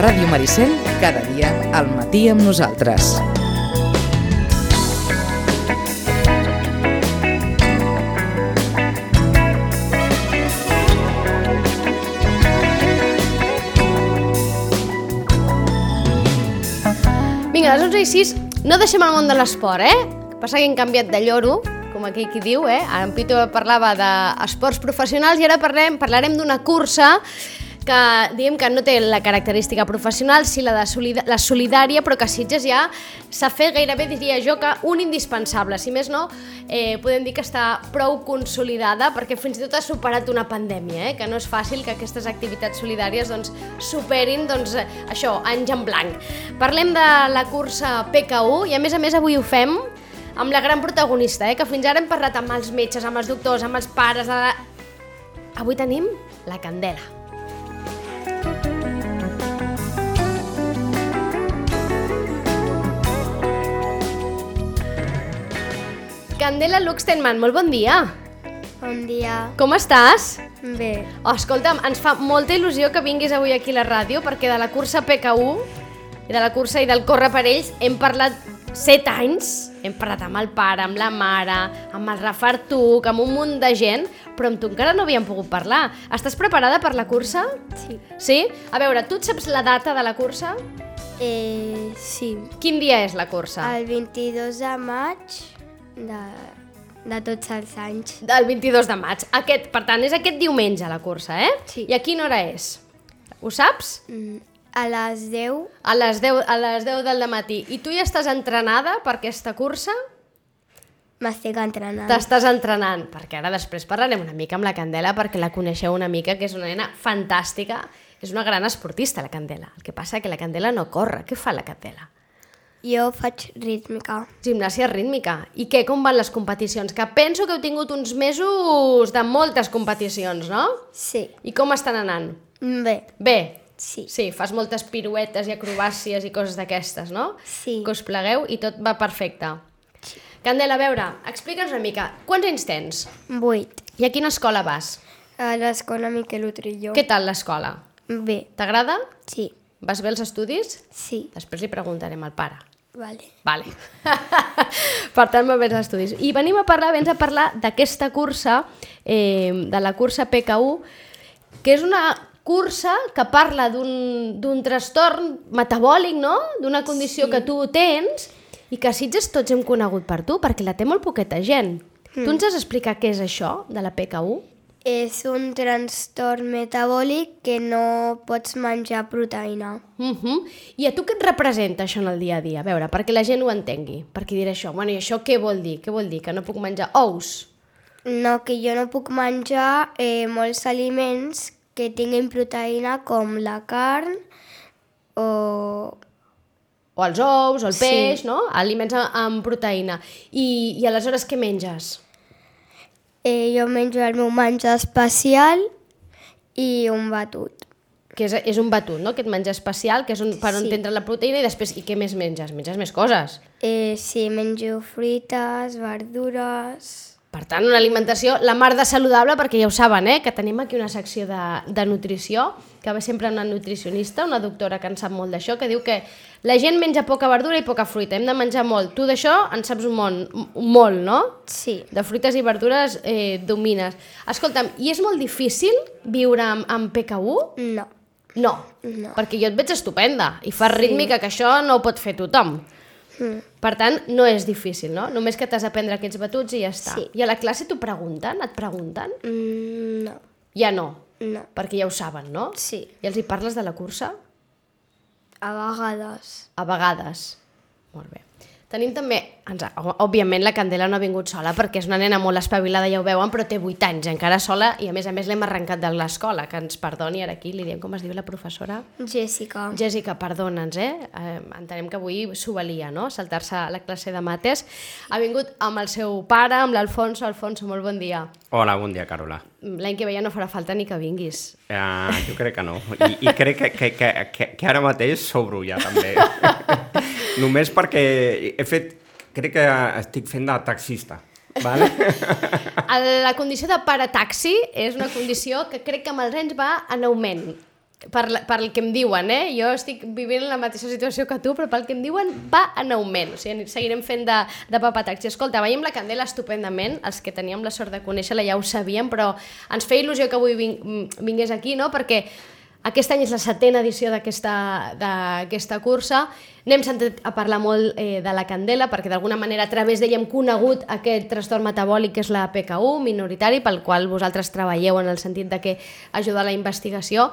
Ràdio Maricel, cada dia al matí amb nosaltres. Vinga, a les 11 i 6 no deixem el món de l'esport, eh? Passa que hem canviat de lloro, com aquell qui diu, eh? Ara en Pito parlava d'esports professionals i ara parlem, parlarem d'una cursa que diem que no té la característica professional, sí la, de solida la solidària, però que a Sitges ja s'ha fet gairebé, diria jo, que un indispensable. Si més no, eh, podem dir que està prou consolidada perquè fins i tot ha superat una pandèmia, eh? que no és fàcil que aquestes activitats solidàries doncs, superin doncs, eh, això, anys en blanc. Parlem de la cursa PK1 i a més a més avui ho fem amb la gran protagonista, eh? que fins ara hem parlat amb els metges, amb els doctors, amb els pares... De la... Avui tenim la Candela. Candela Luxtenman, molt bon dia. Bon dia. Com estàs? Bé, Oh, escolta'm, ens fa molta il·lusió que vinguis avui aquí a la ràdio perquè de la cursa PK1 i de la cursa i del córrer per ells hem parlat set anys. Hem parlat amb el pare, amb la mare, amb el Rafa Artuc, amb un munt de gent, però amb tu encara no havíem pogut parlar. Estàs preparada per la cursa? sí. Sí? A veure, tu et saps la data de la cursa? Eh, sí. Quin dia és la cursa? El 22 de maig de, de tots els anys. Del 22 de maig. Aquest, per tant, és aquest diumenge la cursa, eh? Sí. I a quina hora és? Ho saps? Mm, A les 10, A les 10, a les 10 del matí. I tu ja estàs entrenada per aquesta cursa? m'estic entrenant. T'estàs entrenant, perquè ara després parlarem una mica amb la Candela perquè la coneixeu una mica, que és una nena fantàstica, és una gran esportista, la Candela. El que passa que la Candela no corre. Què fa la Candela? Jo faig rítmica. Gimnàsia rítmica. I què, com van les competicions? Que penso que heu tingut uns mesos de moltes competicions, no? Sí. I com estan anant? Bé, Bé, sí. sí, fas moltes piruetes i acrobàcies i coses d'aquestes, no? Sí. Que us plegueu i tot va perfecte. Candela, a veure, explica'ns una mica, quants anys tens? 8. I a quina escola vas? A l'escola Miquel Utrillo. Què tal l'escola? Bé, T'agrada? sí. Vas bé els estudis? Sí, Després li preguntarem al pare. vale. Vale. per tant, molt bé els estudis. I venim a parlar, vens a parlar d'aquesta cursa, eh, de la cursa PK1, que és una cursa que parla d'un d'un trastorn metabòlic, no? D'una condició sí. que tu tens i que a Sitges tots hem conegut per tu, perquè la té molt poqueta gent. Mm. Tu ens has explicat què és això de la PK1? És un trastorn metabòlic que no pots menjar proteïna. Uh -huh. I a tu què et representa això en el dia a dia? A veure, perquè la gent ho entengui, perquè diré això, bueno, i això què vol dir? Què vol dir? Que no puc menjar ous? No, que jo no puc menjar eh, molts aliments que tinguin proteïna com la carn o... o els ous, o el Sí. peix, no? Aliments a- amb proteïna. I, I aleshores què menges? Eh, jo menjo el meu menjar especial i un batut. Que és, és un batut, no? Aquest menjar especial, que és un, per on Sí. t'entra la proteïna i després... I què més menges? Menges més coses. Eh, sí, menjo fruites, verdures... Per tant, una alimentació la mar de saludable, perquè ja ho saben, eh? Que tenim aquí una secció de, de nutrició, que va sempre una nutricionista, una doctora que en sap molt d'això, que diu que la gent menja poca verdura i poca fruita, hem de menjar molt. Tu d'això en saps un món, molt, no? Sí, de fruites i verdures eh, domines. Escolta'm, i és molt difícil viure amb, amb PK1? no. No, No. perquè jo et veig estupenda i fas sí. rítmica, que això no ho pot fer tothom. Mm. Per tant, no és difícil, no? Només que t'has d'aprendre aquests batuts i ja està. Sí. I a la classe t'ho pregunten? Et pregunten? Mm, no, Ja no, no. perquè ja ho saben, no? Sí, I els hi parles de la cursa? a vegades. A vegades. Molt bé. Tenim també, ens, o- òbviament la Candela no ha vingut sola perquè és una nena molt espavilada, ja ho veuen, però té 8 anys, encara sola, i a més a més l'hem arrencat de l'escola, que ens perdoni ara aquí, li diem com es diu la professora. Jessica. Jessica, perdona'ns, eh? eh? Entenem que avui s'ho valia, no?, saltar-se la classe de mates. Ha vingut amb el seu pare, amb l'Alfonso. Alfonso, molt bon dia. Hola, bon dia, Carola. L'any que ve ja no farà falta ni que vinguis. Uh, jo crec que no. I, i crec que, que, que, que, que ara mateix s'obro ja, també. Només perquè he fet... Crec que estic fent de taxista. Vale? El- La condició de parataxi és una condició que crec que amb els anys va en augment. per, la- pel que em diuen, eh? Jo estic vivint la mateixa situació que tu, però pel que em diuen va en augment. O sigui, seguirem fent de, de papataxi. Escolta, veiem la Candela estupendament, els que teníem la sort de conèixer-la ja ho sabíem, però ens feia il·lusió que avui ving, mm, vingués aquí, no? Perquè aquest any és la setena edició d'aquesta d'aquesta cursa. N'hem sentit a parlar molt eh, de la Candela perquè d'alguna manera a través d'ella hem conegut aquest trastorn metabòlic que és la PKU minoritari pel qual vosaltres treballeu en el sentit de que ajuda a la investigació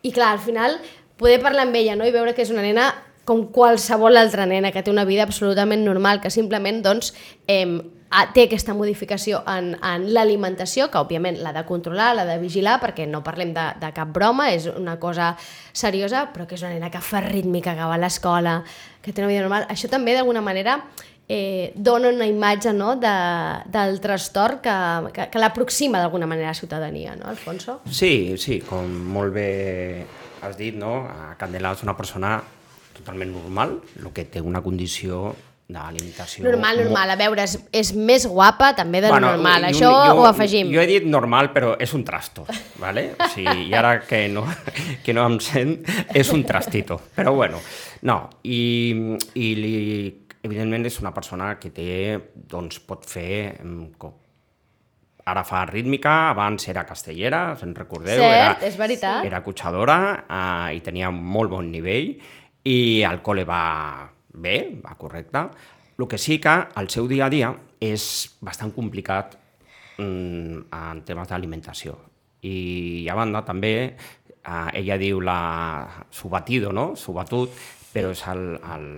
i clar, al final poder parlar amb ella no? i veure que és una nena com qualsevol altra nena que té una vida absolutament normal, que simplement doncs, eh, té aquesta modificació en, en l'alimentació, que òbviament l'ha de controlar, l'ha de vigilar, perquè no parlem de, de cap broma, és una cosa seriosa, però que és una nena que fa rítmica, que va a l'escola, que té una vida normal. Això també, d'alguna manera, eh, dona una imatge no, de, del trastorn que, que, que l'aproxima d'alguna manera a la ciutadania, no, Alfonso? Sí, sí, com molt bé has dit, no? A Candela és una persona totalment normal, el que té una condició de limitació... Normal, mo- normal. A veure, és, és més guapa també de bueno, normal. i un- Això jo- ho afegim. Jo he dit normal, però és un trasto, ¿vale? O sigui, I ara que no, que no em sent, és un trastito. Però bueno, no, i, i li, evidentment és una persona que té, doncs pot fer em, co- ara fa rítmica, abans era castellera, se'n recordeu? Cert, era, és veritat. Era cotxadora eh, i tenia un molt bon nivell i al col·le va bé, va correcte. El que sí que el seu dia a dia és bastant complicat mm, en temes d'alimentació. I, a banda també, eh, ella diu la subatido, no? Subatut, però és el, el,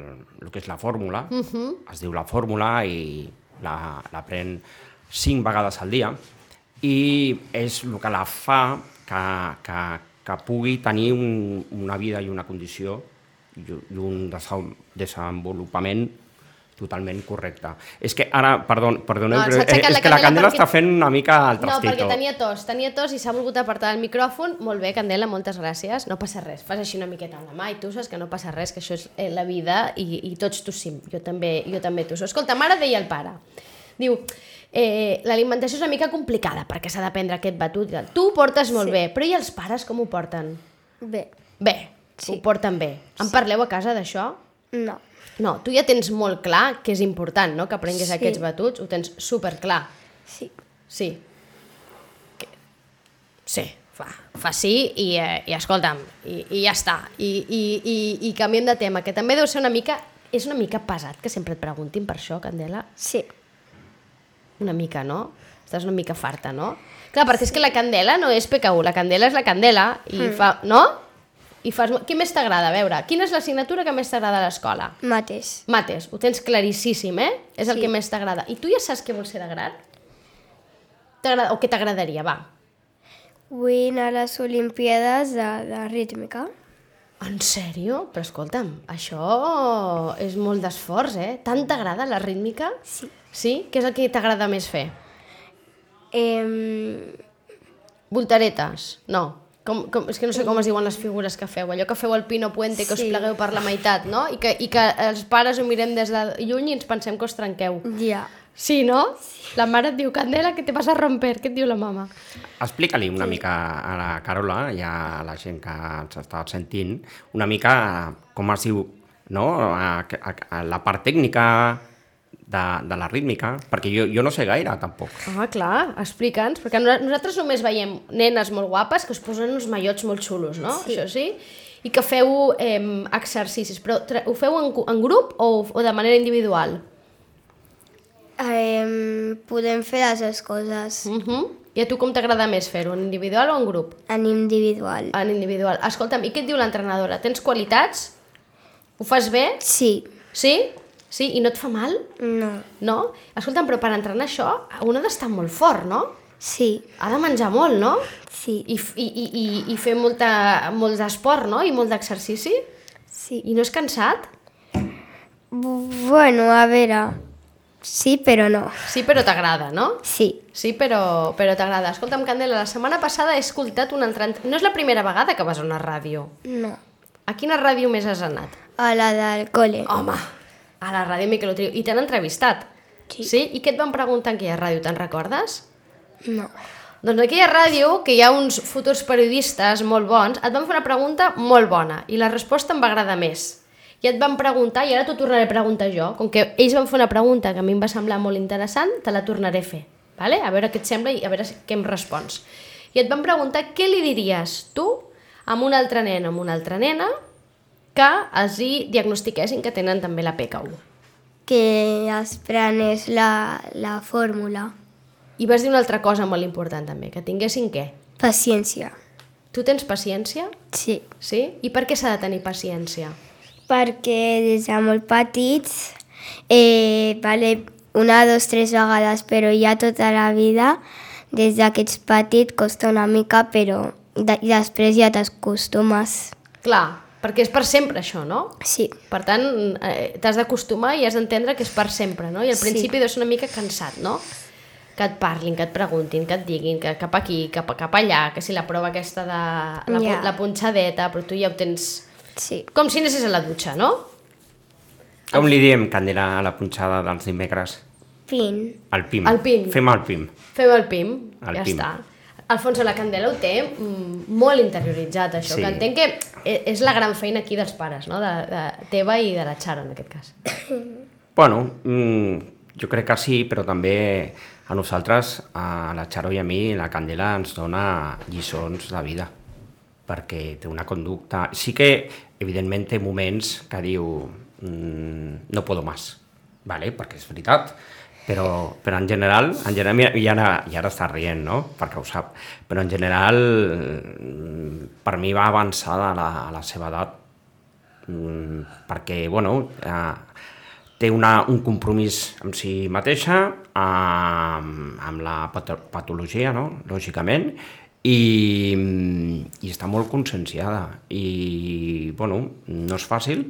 el que és la fórmula, uh -huh. es diu la fórmula i la, la pren cinc vegades al dia i és el que la fa que, que, que pugui tenir un, una vida i una condició i, u- i un desen- desenvolupament totalment correcte. És que ara, perdó, perdoneu, No, però s'ha és, aixecat és la que la Candela Candela perquè- està fent una mica el No, trastito. perquè tenia tos, tenia tos i s'ha volgut apartar del micròfon. Molt bé, Candela, moltes gràcies. No passa res, fas així una miqueta amb la mà i tu saps que no passa res, que això és eh, la vida i, i tots tossim. Jo també, jo també tosso. Escolta, mare deia el pare. Diu, eh, l'alimentació és una mica complicada perquè s'ha de prendre aquest batut. i tal. Tu ho portes molt sí. bé, però i els pares com ho porten? Bé, Bé, Sí. sí. ho porten bé. En parleu a casa d'això? no. No, tu ja tens molt clar que és important, no?, que aprenguis Sí. sí. aquests batuts, ho tens super clar. Sí. Sí. Que- Sí, fa, fa sí i, eh, i escolta'm, i, i ja està. I, i, i, I canviem de tema, que també deu ser una mica... És una mica pesat que sempre et preguntin per això, Candela. Sí. Una mica, no? Estàs una mica farta, no? Clar, perquè és que la Candela no és PKU, la Candela és la Candela i fa... No? I fas... Què més t'agrada? A veure, quina és l'assignatura que més t'agrada a l'escola? Mates. Mates, ho tens claríssim, eh? És el Sí. que més t'agrada. I tu ja saps què vols ser de gran? T'agrada- O què t'agradaria, va? Vull anar a les Olimpiades de, de rítmica. En sèrio? Però escolta'm, això és molt d'esforç, eh? Tant t'agrada la rítmica? Sí. Sí? Què és el que t'agrada més fer? Em, Voltaretes? No. Com, com, és que no sé com es diuen les figures que feu, allò que feu al Pino Puente, que us Sí. plegueu per la meitat, no? I que, I que els pares ho mirem des de lluny i ens pensem que us trenqueu. ja. Sí, no? La mare et diu, Candela, que te vas a romper, què et diu la mama? Explica-li una mica a la Carola i a la gent que ens està sentint una mica com es diu no? a, a, a la part tècnica de, de la rítmica, perquè jo, jo no sé gaire tampoc. Ah, clar, explica'ns, perquè no- nosaltres només veiem nenes molt guapes que es posen uns mallots molt xulos, no? Sí. Això sí? I que feu eh, exercicis, però tra- ho feu en, cu- en grup o, o de manera individual? Em, podem fer les dues coses Uh -huh. I a tu com t'agrada més fer-ho, en individual o en grup? en individual. En individual. Escolta'm, i què et diu l'entrenadora? Tens qualitats? Ho fas bé? Sí. Sí? Sí? I no et fa mal? No. No? Escolta'm, però per entrenar això un ha d'estar molt fort, no? Sí. Ha de menjar molt, no? Sí. I, f- i, i, i- i fer molta, molt d'esport, no? I molt d'exercici. Sí. I no és cansat? Bu- Bueno, a veure. Sí, però no. Sí, però t'agrada, no? Sí. Sí, però, però t'agrada. Escolta'm, Candela, la setmana passada he escoltat un altre... ent- No és la primera vegada que vas a una ràdio. No. A quina ràdio més has anat? A la del col·le. Home, a la ràdio Microtriu. I t'han entrevistat. Sí. sí? I què et van preguntar en quina ràdio, te'n recordes? No. Doncs aquí a ràdio, que hi ha uns futurs periodistes molt bons, et van fer una pregunta molt bona i la resposta em va agradar més. I et van preguntar, i ara t'ho tornaré a preguntar jo, com que ells van fer una pregunta que a mi em va semblar molt interessant, te la tornaré a fer, vale? a veure què et sembla i a veure què em respons. I et van preguntar què li diries tu amb un altre nen o amb una altra nena que els hi diagnostiquessin que tenen també la PKU. que es prenés la, la fórmula. I vas dir una altra cosa molt important també, que tinguessin què? Paciència. Tu tens paciència? Sí. Sí? I per què s'ha de tenir paciència? Perquè des de molt petits, eh, vale, una, dos, tres vegades, però ja tota la vida, des de que ets petit costa una mica, però de, i després ja t'acostumes. Clar, perquè és per sempre això, no? Sí. Per tant, eh, t'has d'acostumar i has d'entendre que és per sempre, no? I al Sí. principi sí. deus ser una mica cansat, no? Que et parlin, que et preguntin, que et diguin que cap aquí, cap, cap allà, que si la prova aquesta de la, yeah. Ja. la punxadeta, però tu ja ho tens... Sí. Com si anessis a la dutxa, no? Com li diem, Candela, a la punxada dels dimecres? Pin. El PIM. El PIM. Fem el PIM. Feu el PIM, El ja PIM. està. Alfonso la Candela ho té mm, molt interioritzat, això, Sí. que entenc que e- és la gran feina aquí dels pares, no? De, de teva i de la Charo, en aquest cas. Bueno, mm, jo crec que sí, però també a nosaltres, a la Xaro i a mi, la Candela ens dona lliçons de vida, perquè té una conducta... Sí que, evidentment, té moments que diu mm, no puedo más, vale? perquè és veritat, però, però en general, en general mira, i, ara, i ara està rient, no? perquè ho sap, però en general mm, per mi va avançada a la, a la seva edat mm, perquè, bueno, eh, té una, un compromís amb si mateixa, amb, amb la pato patologia, no?, lògicament, i, i està molt conscienciada. I, bueno, no és fàcil,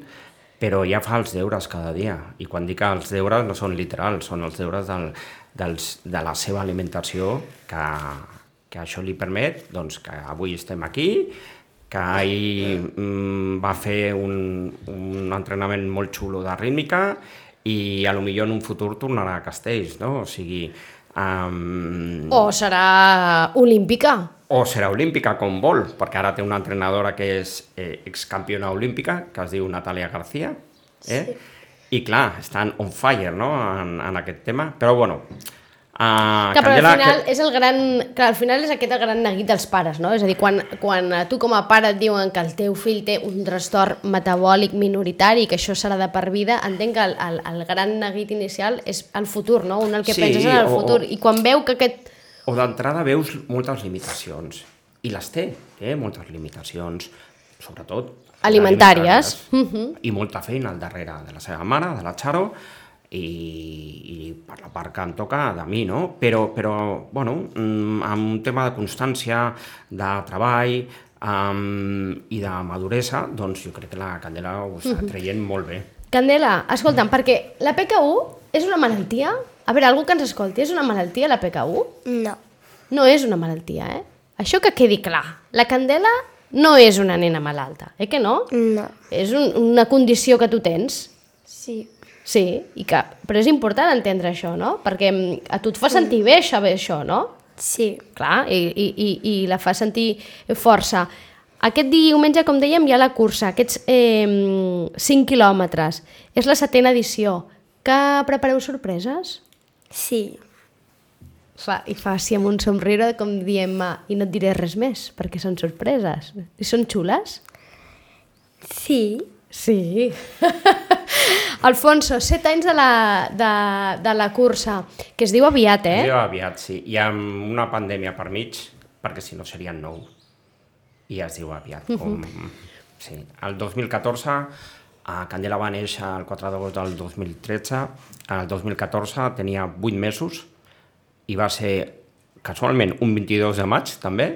però ja fa els deures cada dia. I quan dic que els deures no són literals, són els deures del, dels, de la seva alimentació que, que això li permet doncs, que avui estem aquí, que ahir mm, va fer un, un entrenament molt xulo de rítmica i a lo millor en un futur tornarà a Castells, no? O sigui, um, O serà olímpica. o serà olímpica com vol, perquè ara té una entrenadora que és eh, excampiona olímpica, que es diu Natàlia García, eh? I clar, estan on fire, no?, en, en aquest tema. Però bueno, uh, Que, però al final és el gran... Clar, al final és aquest el gran neguit dels pares, no? És a dir, quan, quan a tu com a pare et diuen que el teu fill té un trastorn metabòlic minoritari i que això serà de per vida, entenc que el, el, el gran neguit inicial és el futur, no? Un el que Sí, sí, penses en el o- futur. o- I quan veu que aquest... O d'entrada veus moltes limitacions, i les té, té moltes limitacions, sobretot... Alimentàries. I molta feina al darrere de la seva mare, de la Charo, i, i per la part que em toca de mi, no? Però, però bueno, mm, amb un tema de constància, de treball um, i de maduresa, doncs jo crec que la Candela ho està traient molt bé. Candela, escolta'm, perquè la PKU és una malaltia? A veure, algú que ens escolti, és una malaltia la PKU? No. No és una malaltia, eh? Això que quedi clar. La Candela no és una nena malalta, eh que no? No. És un, una condició que tu tens, Sí. sí, i que, però és important entendre això, no? Perquè mm, a tu et fa sentir bé saber això, no? Sí. Clar, i, i, i, i la fa sentir força. Aquest diumenge, com dèiem, hi ha la cursa, aquests eh, 5 quilòmetres. És la setena edició. Que prepareu sorpreses? Sí. Fa, I fa així amb un somriure com diem "Ah, i no et diré res més, perquè són sorpreses. I són xules? Sí. Sí. Alfonso, 7 anys de la, de, de la cursa, que es diu aviat, eh? Jo aviat, sí. I amb una pandèmia per mig, perquè si no serien nou. I ja es diu aviat. Mhm. Com... Sí. El 2014, a eh, Candela va néixer el 4 d'agost del 2013. El 2014 tenia 8 mesos i va ser casualment un 22 de maig, també.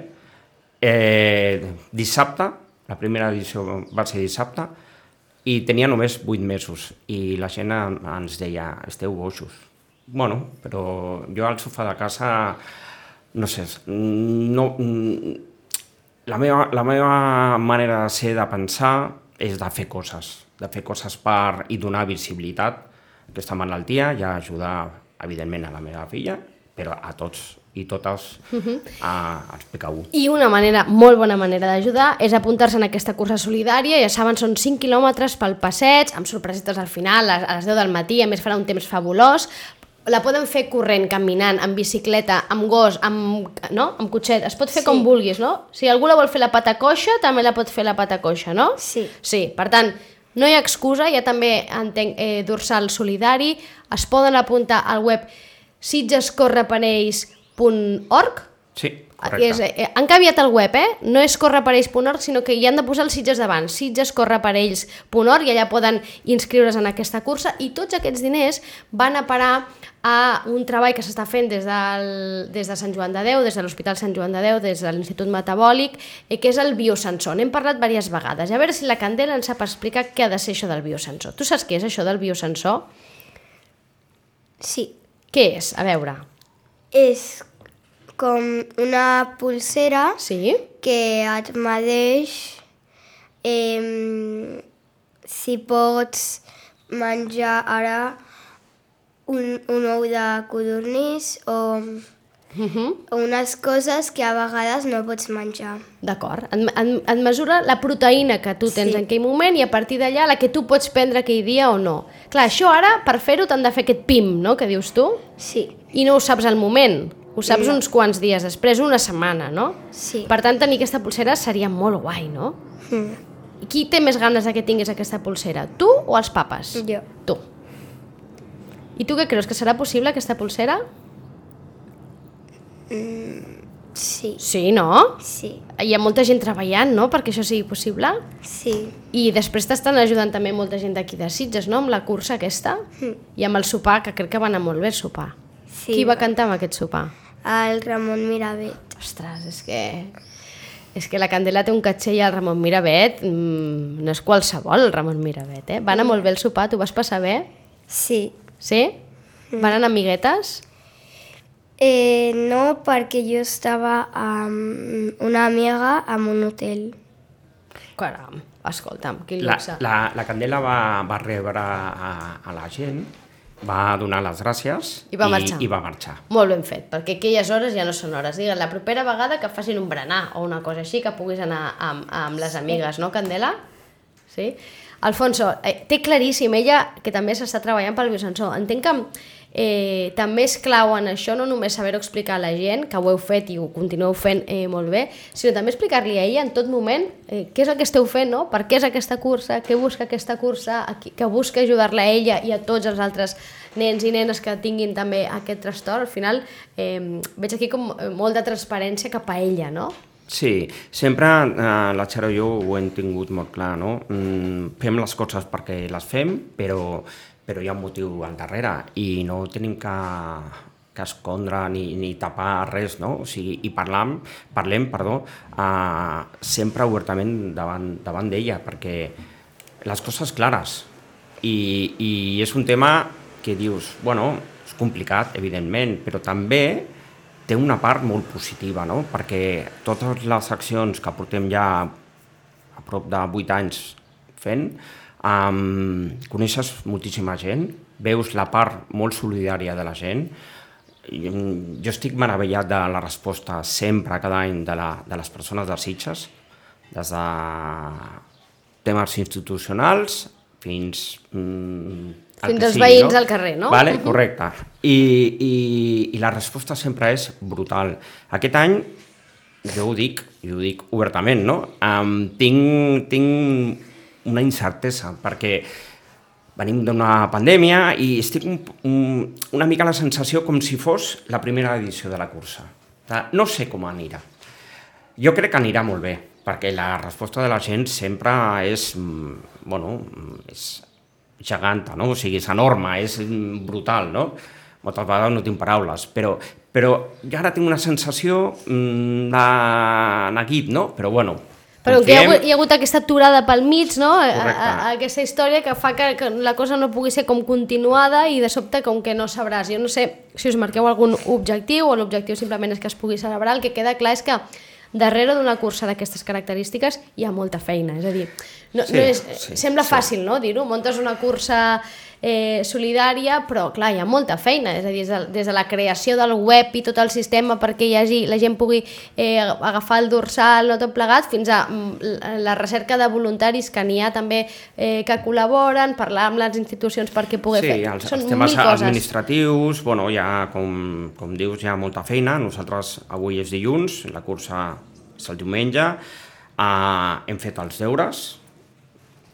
Eh, dissabte, la primera edició va ser dissabte, i tenia només 8 mesos. I la gent en- ens deia, esteu boixos. Bueno, però jo al sofà de casa, no sé, no, la meva, la meva manera de ser, de pensar, és de fer coses, de fer coses per i donar visibilitat a aquesta malaltia i ajudar, evidentment, a la meva filla, però a tots i totes uh Mhm. -huh. a explicar-ho. I una manera, molt bona manera d'ajudar és apuntar-se en aquesta cursa solidària, ja saben, són 5 quilòmetres pel passeig, amb sorpresetes al final, a a les 10 del matí, a més farà un temps fabulós, la poden fer corrent, caminant, amb bicicleta, amb gos, amb, no? amb cotxet, es pot fer sí. com vulguis, no? Si algú la vol fer la patacoixa, també la pot fer la patacoixa, no? Sí. Sí, per tant, no hi ha excusa, ja també entenc eh, dorsal solidari, es poden apuntar al web sitgescorreparells.org Sí, correcte. és, eh, han canviat el web, eh? No és correparells.org, sinó que hi han de posar els sitges davant, sitgescorreparells.org, i allà poden inscriure's en aquesta cursa, i tots aquests diners van a parar a un treball que s'està fent des, del, des de Sant Joan de Déu, des de l'Hospital Sant Joan de Déu, des de l'Institut Metabòlic, eh, que és el biosensor. N'hem parlat diverses vegades. A veure si la Candela ens sap explicar què ha de ser això del biosensor. Tu saps què és això del biosensor? Sí. Què és? A veure. És com una pulsera Sí? que et medeix eh, si pots menjar ara un, un ou de codornís o, Uh -huh. o unes coses que a vegades no pots menjar. D'acord. Et, et, et mesura la proteïna que tu tens sí. Sí. en aquell moment i a partir d'allà la que tu pots prendre aquell dia o no. Clar, això ara, per fer-ho, t'han de fer aquest PIM, no?, que dius tu, Sí, i no ho saps al moment. Ho saps uns quants dies després, una setmana, no? sí. Per tant, tenir aquesta pulsera seria molt guai, no? Mm. I qui té més ganes de que tinguis aquesta pulsera? Tu o els papes? Jo. Tu. I tu què creus? Que serà possible aquesta pulsera? Sí, Sí, no? sí, Hi ha molta gent treballant, no?, perquè això sigui possible. sí, I després t'estan ajudant també molta gent d'aquí de Sitges, no? Amb la cursa aquesta i amb el sopar, que crec que va anar molt bé el sopar. sí. Mm. Sí. Qui va cantar amb aquest sopar? El Ramon Miravet. Ostres, és que... És que la Candela té un catxer i el Ramon Miravet mm, no és qualsevol, el Ramon Miravet, eh? Va anar molt bé el sopar, t'ho vas passar bé? Sí. Sí? Van anar amiguetes? Eh, no, perquè jo estava amb una amiga en un hotel. Caram, escolta'm, quin La, luxe. la, la Candela va, va rebre a, a la gent, va donar les gràcies I va marxar. I, i va marxar. Molt ben fet, perquè aquelles hores ja no són hores. Digue, la propera vegada que facin un berenar o una cosa així, que puguis anar amb, amb les amigues, no, Candela? Sí? Alfonso, eh, té claríssim, ella que també s'està treballant pel biosensor, entenc que eh, també és clau en això, no només saber-ho explicar a la gent, que ho heu fet i ho continueu fent eh, molt bé, sinó també explicar-li a ella en tot moment eh, què és el que esteu fent, no? per què és aquesta cursa, què busca aquesta cursa, a qui- que busca ajudar-la a ella i a tots els altres nens i nenes que tinguin també aquest trastorn. Al final eh, veig aquí com eh, molt de transparència cap a ella, no? Sí, sempre eh, la Xero i jo ho hem tingut molt clar, no? Mm, fem les coses perquè les fem, però, però hi ha un motiu al darrere i no tenim que, que escondre ni, ni tapar res, no? O sigui, i parlam, parlem perdó, eh, sempre obertament davant davant d'ella, perquè les coses clares. I, I és un tema que dius, bueno, és complicat, evidentment, però també té una part molt positiva, no? perquè totes les accions que portem ja a prop de 8 anys fent, um, coneixes moltíssima gent, veus la part molt solidària de la gent, I, mm, jo estic meravellat de la resposta sempre, cada any, de, la, de les persones de Sitges, des de temes institucionals fins... Mm, el Fins que als sigui, veïns al carrer, no? Vale, correcte. I, i, I la resposta sempre és brutal. Aquest any, jo ho dic, jo ho dic obertament, no? Um, tinc, tinc una incertesa, perquè venim d'una pandèmia i estic un, un, una mica la sensació com si fos la primera edició de la cursa. De- No sé com anirà. Jo crec que anirà molt bé, perquè la resposta de la gent sempre és, mm, bueno, mm, és geganta, no? O sigui, és enorme, és mm, brutal, no? Moltes vegades no tinc paraules, però, però jo ara tinc una sensació mm, de neguit, no? Però bueno, Però que hi ha, confiem. hagut, hi ha hagut aquesta aturada pel mig, no? A, a, Correcte. a, aquesta història que fa que, que la cosa no pugui ser com continuada i de sobte com que no sabràs. Jo no sé si us marqueu algun objectiu o l'objectiu simplement és que es pugui celebrar. El que queda clar és que darrere d'una cursa d'aquestes característiques hi ha molta feina. És a dir, No, Sí, no és, sí, sembla sí. fàcil, no, dir-ho? Montes una cursa eh, solidària, però, clar, hi ha molta feina, és a dir, des de, des de la creació del web i tot el sistema perquè hi hagi, la gent pugui eh, agafar el dorsal, no tot plegat, fins a mm, la- la recerca de voluntaris que n'hi ha també eh, que col·laboren, parlar amb les institucions perquè pugui sí, fer. els, Són els temes mil coses. administratius, bueno, hi ha, com, com dius, hi ha molta feina. Nosaltres avui és dilluns, la cursa és el diumenge. Uh, hem fet els deures,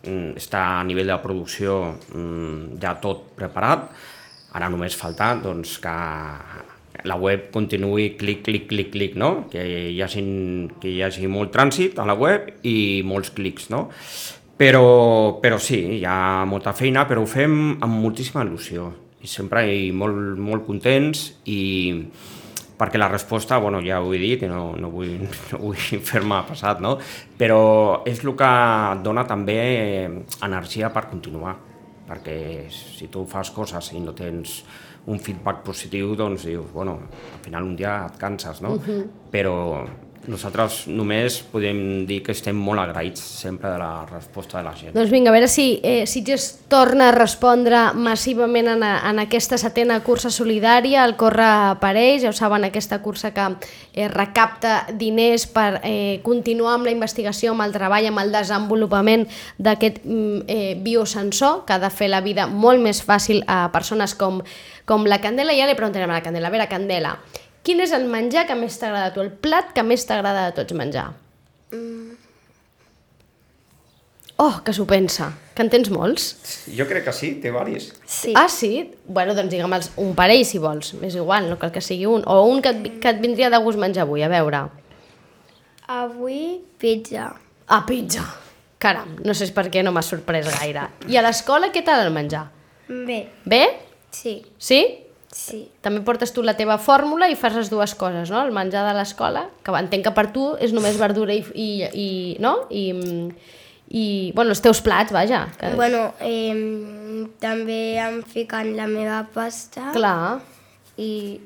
mm, està a nivell de producció mm, ja tot preparat. Ara només falta doncs, que la web continuï clic, clic, clic, clic, no? Que hi, hagi, que hi hagi molt trànsit a la web i molts clics, no? Però, però sí, hi ha molta feina, però ho fem amb moltíssima il·lusió. I sempre i molt, molt contents i perquè la resposta, bueno, ja ho he dit, i no, no vull, no vull fer-me passat, no? però és el que dona també eh, energia per continuar, perquè si tu fas coses i no tens un feedback positiu, doncs dius, bueno, al final un dia et canses, no? Uh -huh. Però nosaltres només podem dir que estem molt agraïts sempre de la resposta de la gent. Doncs vinga, a veure si eh, Sitges torna a respondre massivament en, a, en aquesta setena cursa solidària, el Corre Pareix, ja ho saben, aquesta cursa que eh, recapta diners per eh, continuar amb la investigació, amb el treball, amb el desenvolupament d'aquest mm, eh, biosensor que ha de fer la vida molt més fàcil a persones com, com la Candela. Ja li preguntarem a la Candela, a veure, Candela, quin és el menjar que més t'agrada a tu, el plat que més t'agrada de tots menjar? Oh, que s'ho pensa, que en tens molts. Jo crec que sí, té varis. Sí. Ah, sí? Bueno, doncs digue'm els un parell, si vols. És igual, no cal que sigui un. O un que et, vi- que et vindria de gust menjar avui, a veure. Avui pizza. Ah, pizza. Caram, no sé per què no m'ha sorprès gaire. I a l'escola què tal el menjar? Bé, Bé? sí, Sí? sí. També portes tu la teva fórmula i fas les dues coses, no? El menjar de l'escola, que entenc que per tu és només verdura i... i, i no? I, i, bueno, els teus plats, vaja. Que, Bueno, eh, també em fiquen la meva pasta Clar. i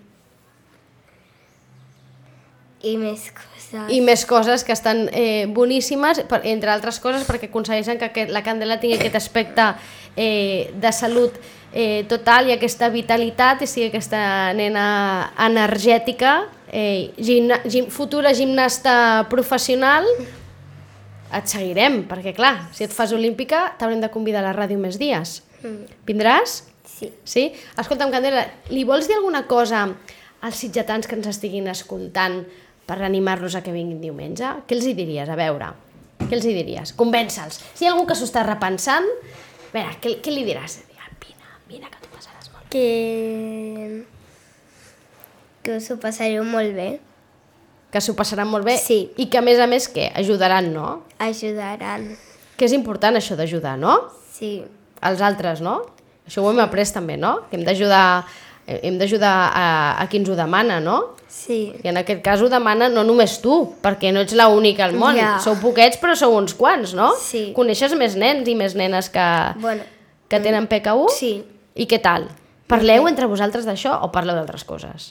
i més coses. i més coses que estan eh, boníssimes, per, entre altres coses perquè aconsegueixen que aquest, la candela tingui aquest aspecte eh, de salut eh, total i aquesta vitalitat i sigui aquesta nena energètica, eh, gimna, gim, futura gimnasta professional, et seguirem, perquè clar, si et fas olímpica t'haurem de convidar a la ràdio més dies. Vindràs? Sí. Sí? Escolta'm, Candela, li vols dir alguna cosa als sitgetans que ens estiguin escoltant per animar-los a que vinguin diumenge? Què els hi diries? A veure, què els hi diries? Convença'ls. Si hi ha algú que s'ho està repensant, a veure, què, què li diràs? Vine, vine, que t'ho passaràs molt. Que... Que us ho passareu molt bé. Que s'ho passaran molt bé Sí. i que, a més a més, què? Ajudaran, no? Ajudaran. Que és important això d'ajudar, no? Sí. els altres, no? Això ho hem après també, no? Que hem d'ajudar eh, hem d'ajudar a, a qui ens ho demana, no? Sí. I en aquest cas ho demana no només tu, perquè no ets l'única al món. Ja. Sou poquets, però sou uns quants, no? Sí. Coneixes més nens i més nenes que, Bueno, que tenen PK1? sí. I què tal? Parleu entre vosaltres d'això o parleu d'altres coses?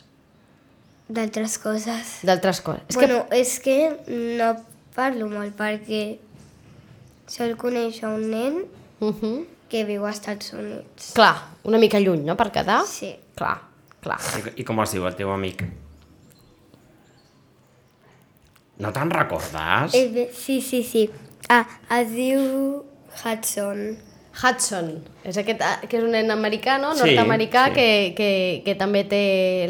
d'altres coses. D'altres coses. És bueno, que... és que no parlo molt perquè sol conèixer un nen que... Uh -huh. que viu als Estats Units. Clar, una mica lluny, no?, per quedar. Sí. Clar, clar. I, I com es diu el teu amic? No te'n recordes? Eh, bé, sí, sí, sí. Ah, es diu Hudson. Hudson, és aquest, ah, que és un nen americà, no? Sí, nord-americà, sí. que, que, que també té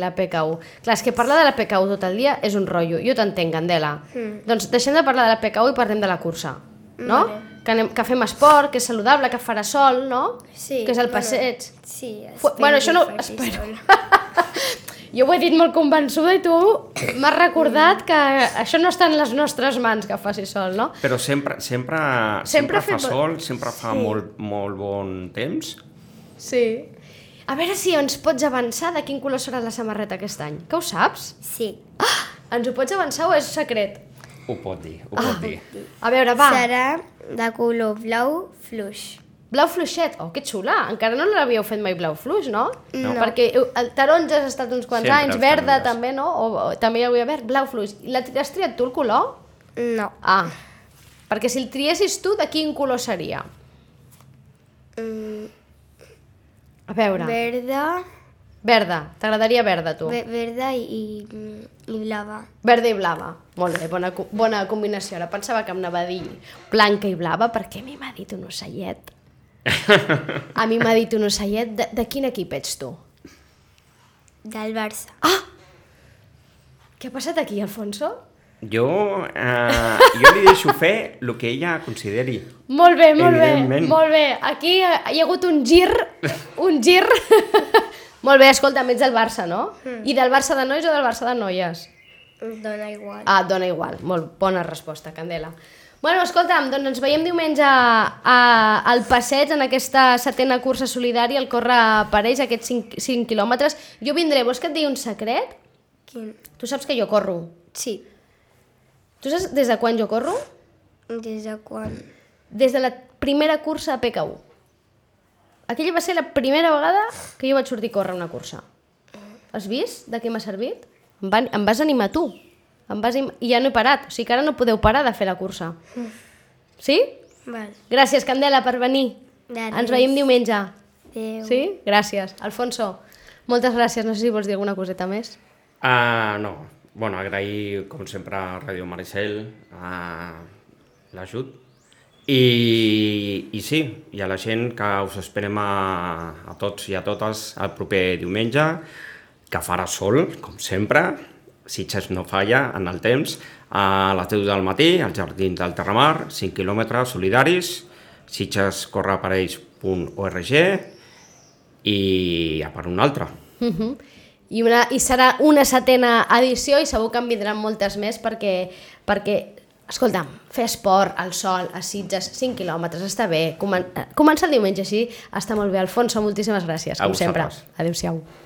la PKU. Clar, és que parlar de la PKU tot el dia és un rotllo. Jo t'entenc, Candela. Mm. Doncs deixem de parlar de la PKU i parlem de la cursa, no? Que, anem, que fem esport, que és saludable, que farà sol, no? que és el passeig. Sí, Fu- espero bueno, això no- que faci espero. sol. Jo ho he dit molt convençuda i tu m'has recordat que això no està en les nostres mans, que faci sol, no? Però sempre, sempre, Sempre sempre, ha fa fet bo- sol, sempre fa molt, molt bon temps. Sí. A veure si ens pots avançar de quin color serà la samarreta aquest any. Que ho saps? Sí. Ah, ens ho pots avançar o és secret? Ho pot dir, ho Ah. pot dir. A veure, va. Va. Serà de color blau fluix. Blau fluixet. Oh, que xula. Encara no l'havíeu fet mai blau fluix, no? No. Perquè eh, el taronja has estat uns quants Sempre anys, els verda taronges. també, no? O, o també hi hauria verd, blau fluix. I la- Has triat tu el color? No. Ah, Perquè si el triessis tu, de quin color seria? Mm. A veure, Verda, verda. T'agradaria verda, tu. ve- verda i, i, i blava. Verda i blava. Molt bé, bona, co- bona combinació. Ara pensava que em anava a dir blanca i blava perquè a mi m'ha dit un ocellet. A mi m'ha dit un ocellet. De, de quin equip ets tu? Del Barça. Ah. Què ha passat aquí, Alfonso? Jo, eh, jo li deixo fer el que ella consideri. Molt bé, molt bé, Evidentment. molt bé. Aquí eh, hi ha hagut un gir, un gir. molt bé, escolta, ets del Barça, no? I del Barça de nois o del Barça de noies? Dona igual. Ah, et dona igual. Molt bona resposta, Candela. Bueno, escolta'm, doncs ens veiem diumenge a, a, al passeig en aquesta setena cursa solidària, el Corre Pareix, aquests 5, 5 quilòmetres. Jo vindré, vols que et digui un secret? Quin? Tu saps que jo corro. Sí. Tu saps des de quan jo corro? Des de quan? Des de la primera cursa a PK1. Aquella va ser la primera vegada que jo vaig sortir a córrer una cursa. Has vist de què m'ha servit? Em, van, em vas animar tu. Em vas im... I ja no he parat. O sigui que ara no podeu parar de fer la cursa. Sí? Val. Gràcies, Candela, per venir. De Ens res. veiem diumenge. Adéu. Sí? Gràcies. Alfonso, moltes gràcies. No sé si vols dir alguna coseta més. Uh, no, bueno, agrair, com sempre, a Ràdio Maricel uh, l'ajut. I, I sí, i a la gent que us esperem a, a tots i a totes el proper diumenge, que farà sol, com sempre, si Xes no falla en el temps, a les 10 del matí, als Jardins del Terramar, 5 quilòmetres solidaris, sitgescorreaparells.org i a per un altre. Mhm. I, una, I serà una setena edició i segur que en vindran moltes més perquè, perquè escolta'm, fer esport al sol, a Sitges, 5 quilòmetres, està bé. Comen eh, comença el diumenge així, està molt bé. Alfonso, moltíssimes gràcies, A com sempre. vosaltres. Adéu-siau.